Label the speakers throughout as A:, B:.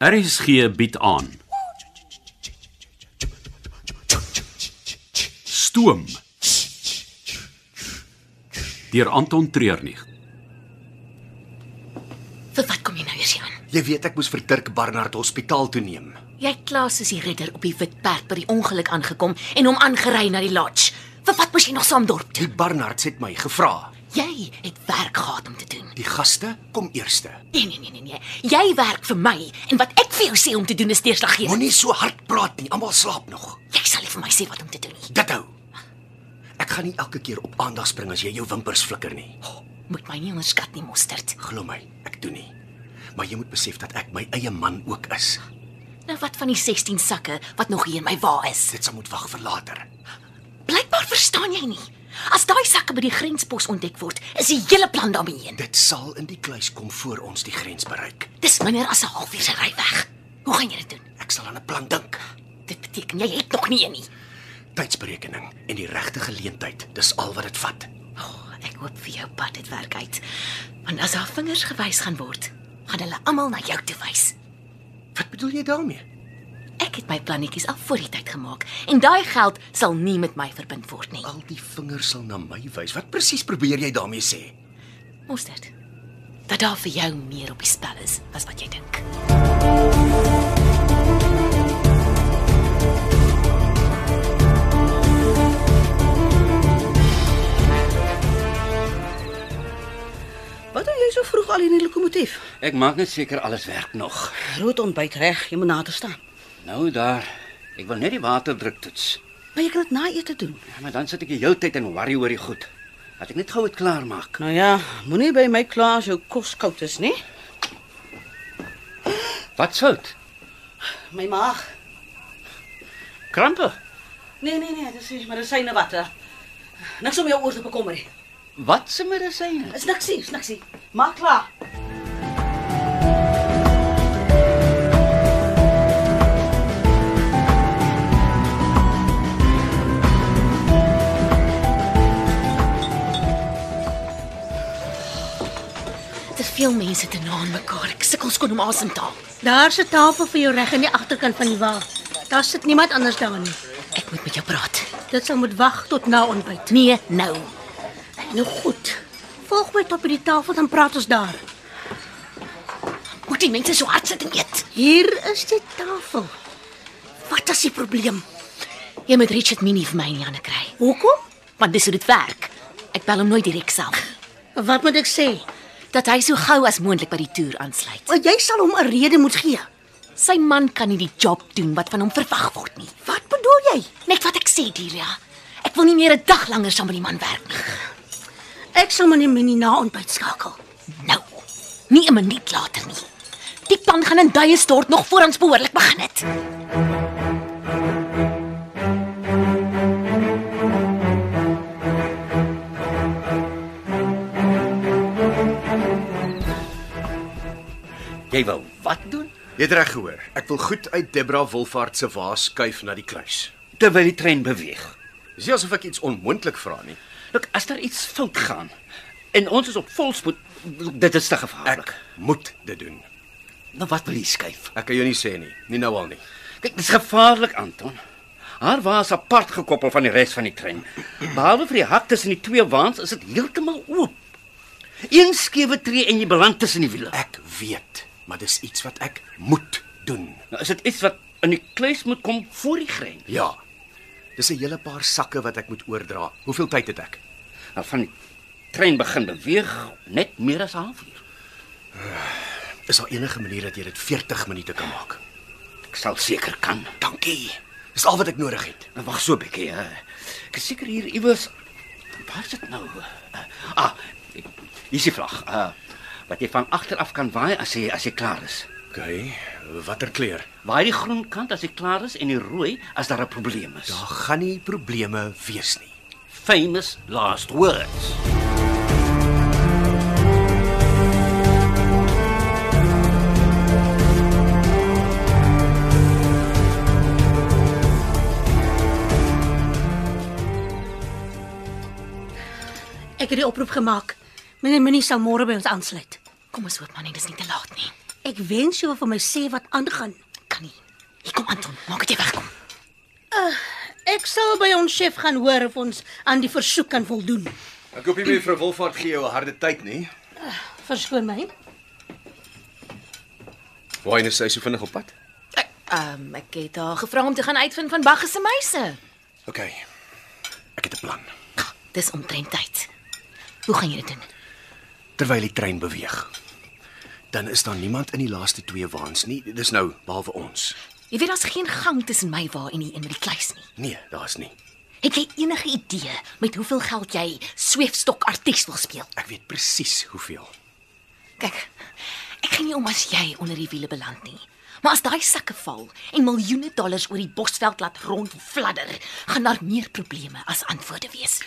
A: RSG bied aan. Stoom. Deur Anton Treurnig.
B: Vir wat kom jy nou eers hier aan?
C: Jy weet ek moes vir Dirk Barnard Hospitaal toe neem.
B: Jy klaas is die redder op die wit perd by die ongeluk aangekom en hom aangery na die lodge. Vir wat moes jy nog saam dorp toe?
C: Die Barnards het my gevra.
B: Jy het werk gehad om te doen.
C: Die gaste kom eerste.
B: Nee nee nee nee nee. Jy werk vir my en wat ek vir jou sê om te doen is deurslaggewend.
C: Moenie so hard praat nie, almal slaap nog.
B: Jy sal nie vir my sê wat om te doen nie.
C: Dit hou. Ek gaan nie elke keer op aandag spring as jy jou wimpers flikker nie.
B: Moet my nie onderskat nie, mosterd.
C: Glo my, ek doen nie. Maar jy moet besef dat ek my eie man ook is.
B: Nou wat van die 16 sakke wat nog hier in my wa is?
C: Dit sal moet wag vir later.
B: Blykbaar verstaan jy nie. As daai sakke by die grenspos ontdek word, is die hele plan daarmee heen.
C: Dit sal in die kluis kom voor ons die grens bereik.
B: Dis minder as 'n halfuur se ry weg. Hoe gaan jy dit doen?
C: Ek sal aan 'n plan dink.
B: Dit beteken jy het nog nie een nie.
C: Tydsberekening en die regte geleentheid, dis al wat dit vat.
B: Oh, ek hoop vir jou pad dit werk uit. Want as haar vingers gewys gaan word, gaan hulle almal na jou toe wys.
C: Wat bedoel jy daarmee?
B: Ek het my plannetjies al voor die tyd gemaak en daai geld sal nie met my verbind word nie.
C: Al die vingers sal na my wys. Wat presies probeer jy daarmee sê?
B: Mos dit. Dat daar vir jou meer op die spel is as wat jy dink.
D: Wat doen jy so vroeg al in die lokomotief?
E: Ek maak net seker alles werk nog.
D: Groot ontbyt reg, jy moet nader staan.
E: Nou daar. Ek wil net die waterdruk toets.
D: Maar jy kan dit na ete doen.
E: Ja, maar dan sit ek die hele tyd en worry oor die goed. Laat ek net gou dit klaar maak.
D: Nou ja, moenie by my kla as jou kos koud is, nê?
E: Wat sout?
D: My maag.
E: Krampe.
D: Nee, nee, nee, dis nie medisyne water. Niks om jou oor te bekommer nie.
E: Wat se medisyne?
D: Is niks, is niks. nie. Maak klaar.
B: Te veel mense te na aan mekaar. Ek sukkel skoon om asem te haal.
F: Daar's 'n tafel vir jou reg aan die agterkant van die wa. Daar sit niemand anders daar nie.
B: Ek moet met jou praat.
F: Dit sal moet wag tot na ontbyt.
B: Nee, nou.
F: Nou goed. Volg my tot by die tafel dan praat ons daar.
B: Moet die mense so hard sit en eet.
F: Hier is die tafel. Wat is die probleem?
B: Jy moet Richard Minnie vir my in die hande kry.
F: Hoekom?
B: Want dis hoe dit werk. Ek bel hom nooit direk self.
F: Wat moet ek sê?
B: Dat hy so gou as moontlik by die toer aansluit.
D: Eh,
F: Want jy sal hom 'n rede moet gee.
B: Sy man kan nie die job doen wat van hom verwag word nie.
F: Wat bedoel jy?
B: Net wat ek sê, Delia. Ek wil nie meer 'n dag langer saam met die man werk nie.
F: Ek sal my nie minie na ontbyt skakel.
B: Nou. Nie 'n minuut later nie. Die plan gaan in duie stort nog voor ons behoorlik begin het.
E: Jy wou wat doen?
C: Jy het reg gehoor. Ek wil goed uit Debra Wolfhard se waas skuif na die kluis.
E: Terwyl die trein beweeg.
C: Dis nie asof ek iets onmoontlik vra nie.
E: Look, as daar iets fout gaan en ons is op volspoed, look, dit is te gevaarlik.
C: Ek moet dit doen.
E: Nou wat wil jy skuif?
C: Ek kan jou nie sê nie, nie nou al nie.
E: Kyk, dis gevaarlik, Anton. Haar waas apart gekoppel van die res van die trein. Behalwe vir die hak tussen die twee waans is dit heeltemal oop. Een skewe tree en jy beland tussen die wiele.
C: Ek weet, maar dis iets wat ek moet doen.
E: Nou is dit iets wat in die kluis moet kom voor die grein.
C: Ja. Dis 'n hele paar sakke wat ek moet oordra. Hoeveel tyd het ek?
E: Nou van die trein begin beweeg net meer as 'n halfuur.
C: Is daar enige manier dat jy dit 40 minute kan maak?
E: Ek sal seker kan.
C: Dankie. Dis al wat ek nodig het.
E: Nou wag so 'n bietjie. hè. Ek is seker hier iewers. Waar is dit nou? Eh, Ah, ek- hier is die vlag. Uh, wat jy van agter af kan waai as jy as jy klaar is.
C: OK. Watter kleur?
E: Waai die groen kant as hy klaar is en die rooi as daar 'n probleem is.
C: Daar gaan nie probleme wees nie.
E: Ja. Famous last words.
F: Ek het die oproep gemaak. Meneer Minnie sal môre by ons aansluit.
B: Kom ons hoop maar net nee, dis nie te laat nie.
F: Ek wens jy wil vir my sê wat aangaan.
B: Kan nie. Hier kom Anton, maak dit wegkom.
F: Ek sal by ons chef gaan hoor of ons aan die versoek kan voldoen.
C: Ek hoop nie mevrou Wolfhard gee jou 'n harde tyd nie.
F: Verskoon my.
C: Waarheen is sy so vinnig op pad?
B: Ehm um, ek het haar gevra om te gaan uitvind van Bagge se meise.
C: OK. Ek het 'n plan.
B: Dis omtrent tyd. Hoe gaan jy dit doen?
C: Terwyl die trein beweeg, dan is daar niemand in die laaste twee waans nie. Dis nou behalwe ons.
B: Jy weet daar's geen gang tussen my wa en die een met die kluis nie.
C: Nee, daar's nie.
B: Het jy enige idee met hoeveel geld jy sweefstok artiest wil speel?
C: Ek weet presies hoeveel.
B: Kyk. Ek gaan nie om as jy onder die wiele beland nie. Maar as daai sakke val en miljoene dollars oor die Bosveld laat rondfladder, gaan daar meer probleme as antwoorde wees.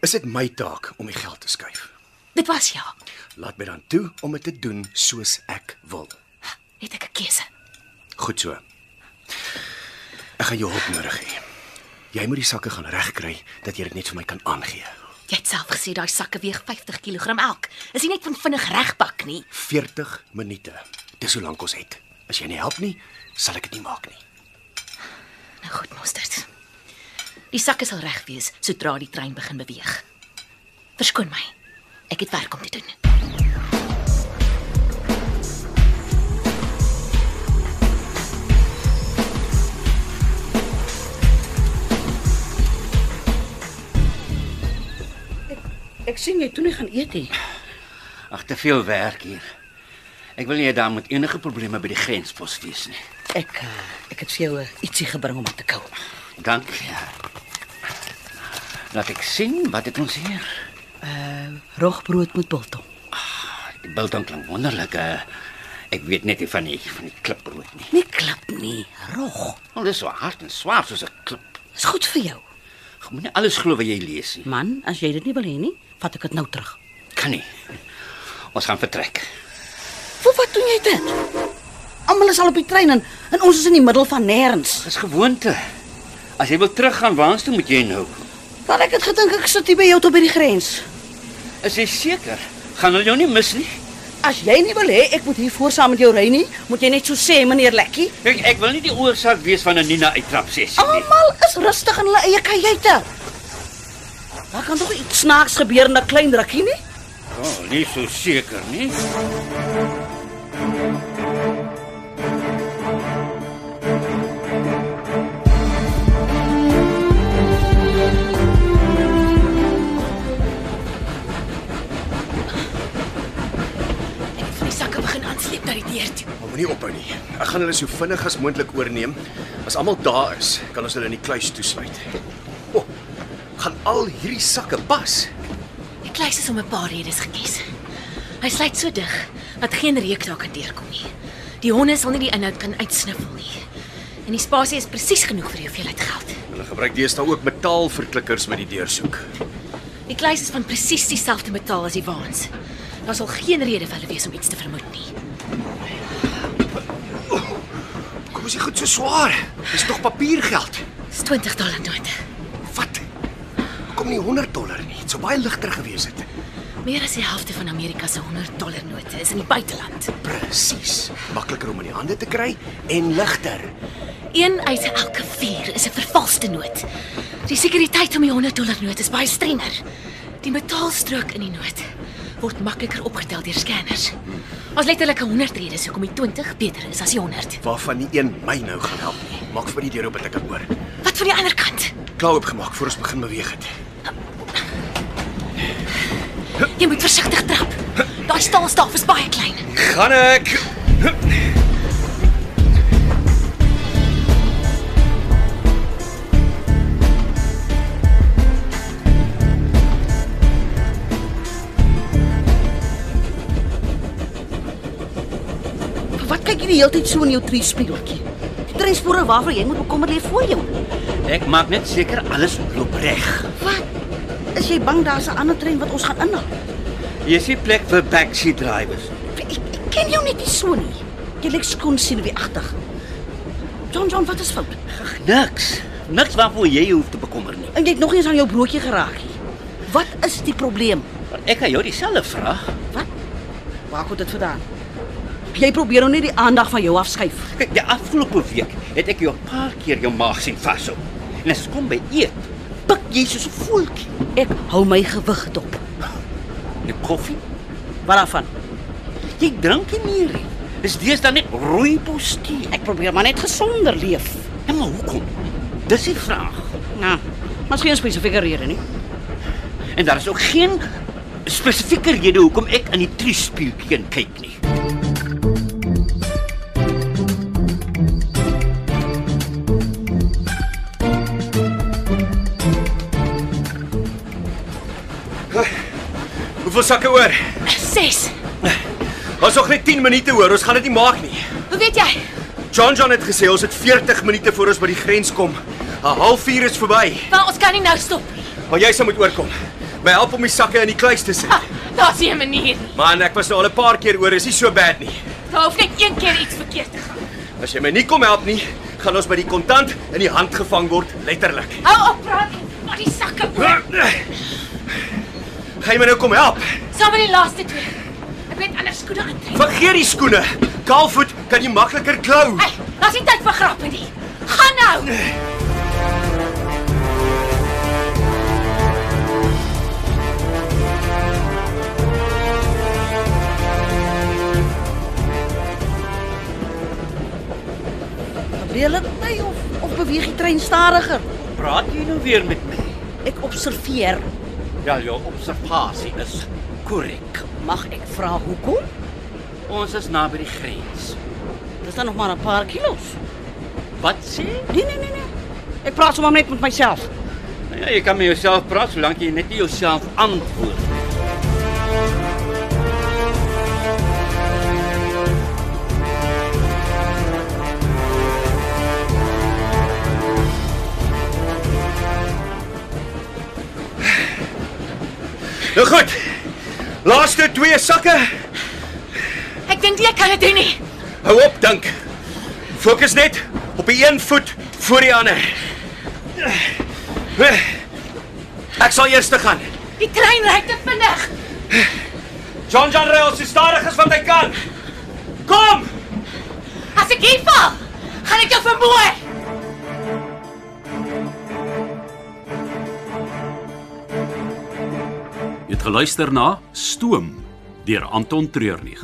C: Is dit my taak om die geld te skuif?
B: Dit was ja.
C: Laat my dan toe om dit te doen soos ek wil.
B: Het ek 'n keuse?
C: Goed so. Ek gaan jou hulp nodig hê. Jy moet die sakke gaan regkry dat jy dit net vir my kan aangee.
B: Jy het self gesê daai sakke weeg 50 kg elk. Is nie net van vinnig regpak nie.
C: 40 minute. Dis hoe lank ons het. As jy nie help nie, sal ek dit nie maak nie.
B: Nou goed, mosterd. Die sakke sal reg wees sodra die trein begin beweeg. Verskoon my. Ek het werk om te doen.
D: Ek sien jy toe nie gaan eet nie.
E: Ag, te veel werk hier. Ek wil nie hê daar moet enige probleme by die grenspos wees nie.
D: Ek eh, ek het vir jou eh, ietsie gebring om te kou.
E: Dankie. Laat ek sien wat het ons hier.
D: Rogbrood met biltong.
E: Die biltong klink wonderlik. eh. Ek weet net nie van die van die klipbrood nie.
D: Nie klap nie, rog.
E: Al dis so hard en swaar soos 'n klip.
D: Is goed vir jou.
E: Jy moet nie alles glo wat jy lees nie.
D: Man, as jy dit nie wil hê nie, vat ek dit nou terug.
E: Kan nie. Ons gaan vertrek.
D: Vir wat doen jy dit? Almal is al op die trein en, en ons is in die middel van nêrens.
E: Dis gewoonte. As jy wil teruggaan, waarheen toe moet jy nou?
D: Wel ek het gedink ek sit hier by jou tot by die grens.
E: Is jy seker? Gaan hulle jou nie mis nie?
D: As jy nie wil hê ek moet hier voor saam met jou ry nie, moet jy net so sê, meneer Lekkie.
E: Ek ek wil nie die oorsaak wees van 'n Nina uittrap sessie nie.
D: Almal is rustig in hulle eie kajute. Daar kan tog iets snaaks gebeur in 'n klein rukkie nie?
E: Oh, nie so seker nie.
B: Ek het van die sakke begin aansleep na die deur toe.
C: Maar moenie ophou nie. Ek gaan hulle so vinnig as moontlik oorneem. As almal daar is, kan ons hulle in die kluis toesluit. O, oh, gaan al hierdie sakke pas.
B: Die kluis is om 'n paar redes gekies. Hy sluit so dig dat geen reuk daar kan deurkom nie. Die honde sal nie die inhoud kan uitsniffel nie. En die spasie is presies genoeg vir die hoeveelheid geld.
C: Hulle gebruik deesdae ook metaalverklikkers met die deursoek.
B: Die kluis is van presies dieselfde metaal as die waans. Daar sal geen rede vir hulle wees om iets te vermoed nie.
C: Kom ons, dit goed so swaar. Dis tog papiergeld.
B: Dis 20 dollar note.
C: Wat? Kom nie 100 dollar nie. Dit sou baie ligter gewees het.
B: Meer as die helfte van Amerika se 100 dollar note is in die buiteland.
C: Presies. Makliker om in die hande te kry en ligter.
B: Een uit elke 4 is 'n vervalste noot. Die sekuriteit om die 100 dollar noot is baie strenger. Die metaalstrook in die noot word makliker opgetel deur skanners. Ons letterlik 100 redes hoekom die 20 beter is as die 100.
C: Waarvan nie een my nou gaan help nie. Maak vir die deur oop dat ek kan hoor.
B: Wat van die ander kant?
C: Klaar oopgemaak voor ons begin beweeg het.
B: Jy moet versigtig trap. Daai staalstaaf is baie klein.
C: Gaan ek.
D: Vir wat kyk jy die hele tyd so in jou treespieeltjie? Die treinspore waarvoor jy moet bekommer lê voor jou.
E: Ek maak net seker alles loop reg.
D: Wat? Is jy bang daar's 'n ander trein wat ons gaan inhaal?
E: Hier is nie plek vir backseat drivers.
D: Ek, ek ken jou net nie so nie. Jy lyk skoon sielwigtig. John John, wat is fout?
E: Niks. Niks waarvoor jy jou hoef te bekommer nie.
D: En jy het nog eens aan jou broodjie geraak nie. Wat is die probleem?
E: Ek kan jou dieselfde vra.
D: Wat? Waar kom dit vandaan? Jy probeer nou net die aandag van jou afskuif.
E: Kyk, die afgelope week het ek jou 'n paar keer jou maag sien vashou. En as dit kom by eet, pik jy soos 'n voeltjie.
D: Ek hou my gewig dop.
E: Die koffie,
D: Wat daarvan?
E: jy drink nie meer nie. Dis deesdae net rooibos tee.
D: Ek probeer maar net gesonder leef.
E: Ja, maar hoekom? Dis die vraag.
D: Nou, maar geen spesifieke rede nie.
E: En daar is ook geen spesifieke rede hoekom ek in die triespieeltjie kyk nie.
C: Hoeveel sakke oor?
B: 6.
C: Ons nog net 10 minute hoor. Ons gaan dit nie maak nie.
B: Hoe weet jy?
C: John John het gesê ons het 40 minute voor ons by die grens kom. 'n Halfuur is verby.
B: Want ons kan nie nou stop nie.
C: Maar jy sal moet oorkom. My help om die sakke in die kluis te sit.
B: Ah, Daar's nie 'n manier nie.
C: Man, ek was nou al 'n paar keer oor, is nie so bad nie.
B: Daar hoef net een keer iets verkeerd te gaan.
C: As jy my nie kom help nie, gaan ons by die kontant in die hand gevang word, letterlik.
B: Hou op praat en vat die sakke oor.
C: Gaan jy my nou kom help?
B: Saam met die laaste twee. Ek weet ander skoene aantrek.
C: Vergeet die skoene. Kaalvoet kan jy makliker klou.
B: Hey, daar's nie tyd vir grappe nie. Gaan nou.
D: Beweeg dit my of of beweeg die trein stadiger?
E: Praat jy nou weer met my?
D: Ek observeer.
E: Ja, jou observasie is korrek.
D: Mag ek vra hoekom?
E: Ons is naby die grens.
D: Dis dan nog maar 'n paar kilos.
E: Wat sê?
D: Nee nee nee nee. Ek praat sommer net met myself.
E: Nou ja, jy kan met jouself praat solank jy net nie jouself antwoord nie.
C: Nou goed. Laaste twee sakke.
B: Ek dink nie ek kan dit doen nie.
C: Hou op dink. Fokus net op die een voet voor die ander. Ek sal eers te gaan.
B: Die trein ry te vinnig.
C: John John ry al so stadig as wat hy kan. Kom!
B: As ek hier val, gaan ek jou vermoor.
A: Jy het geluister na Stoom deur Anton Treurnig.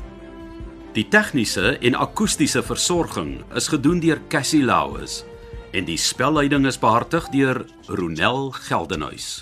A: Die tegniese en akoestiese versorging is gedoen deur Cassie Lauis en die spelleiding is behartig deur Ronel Geldenhuys.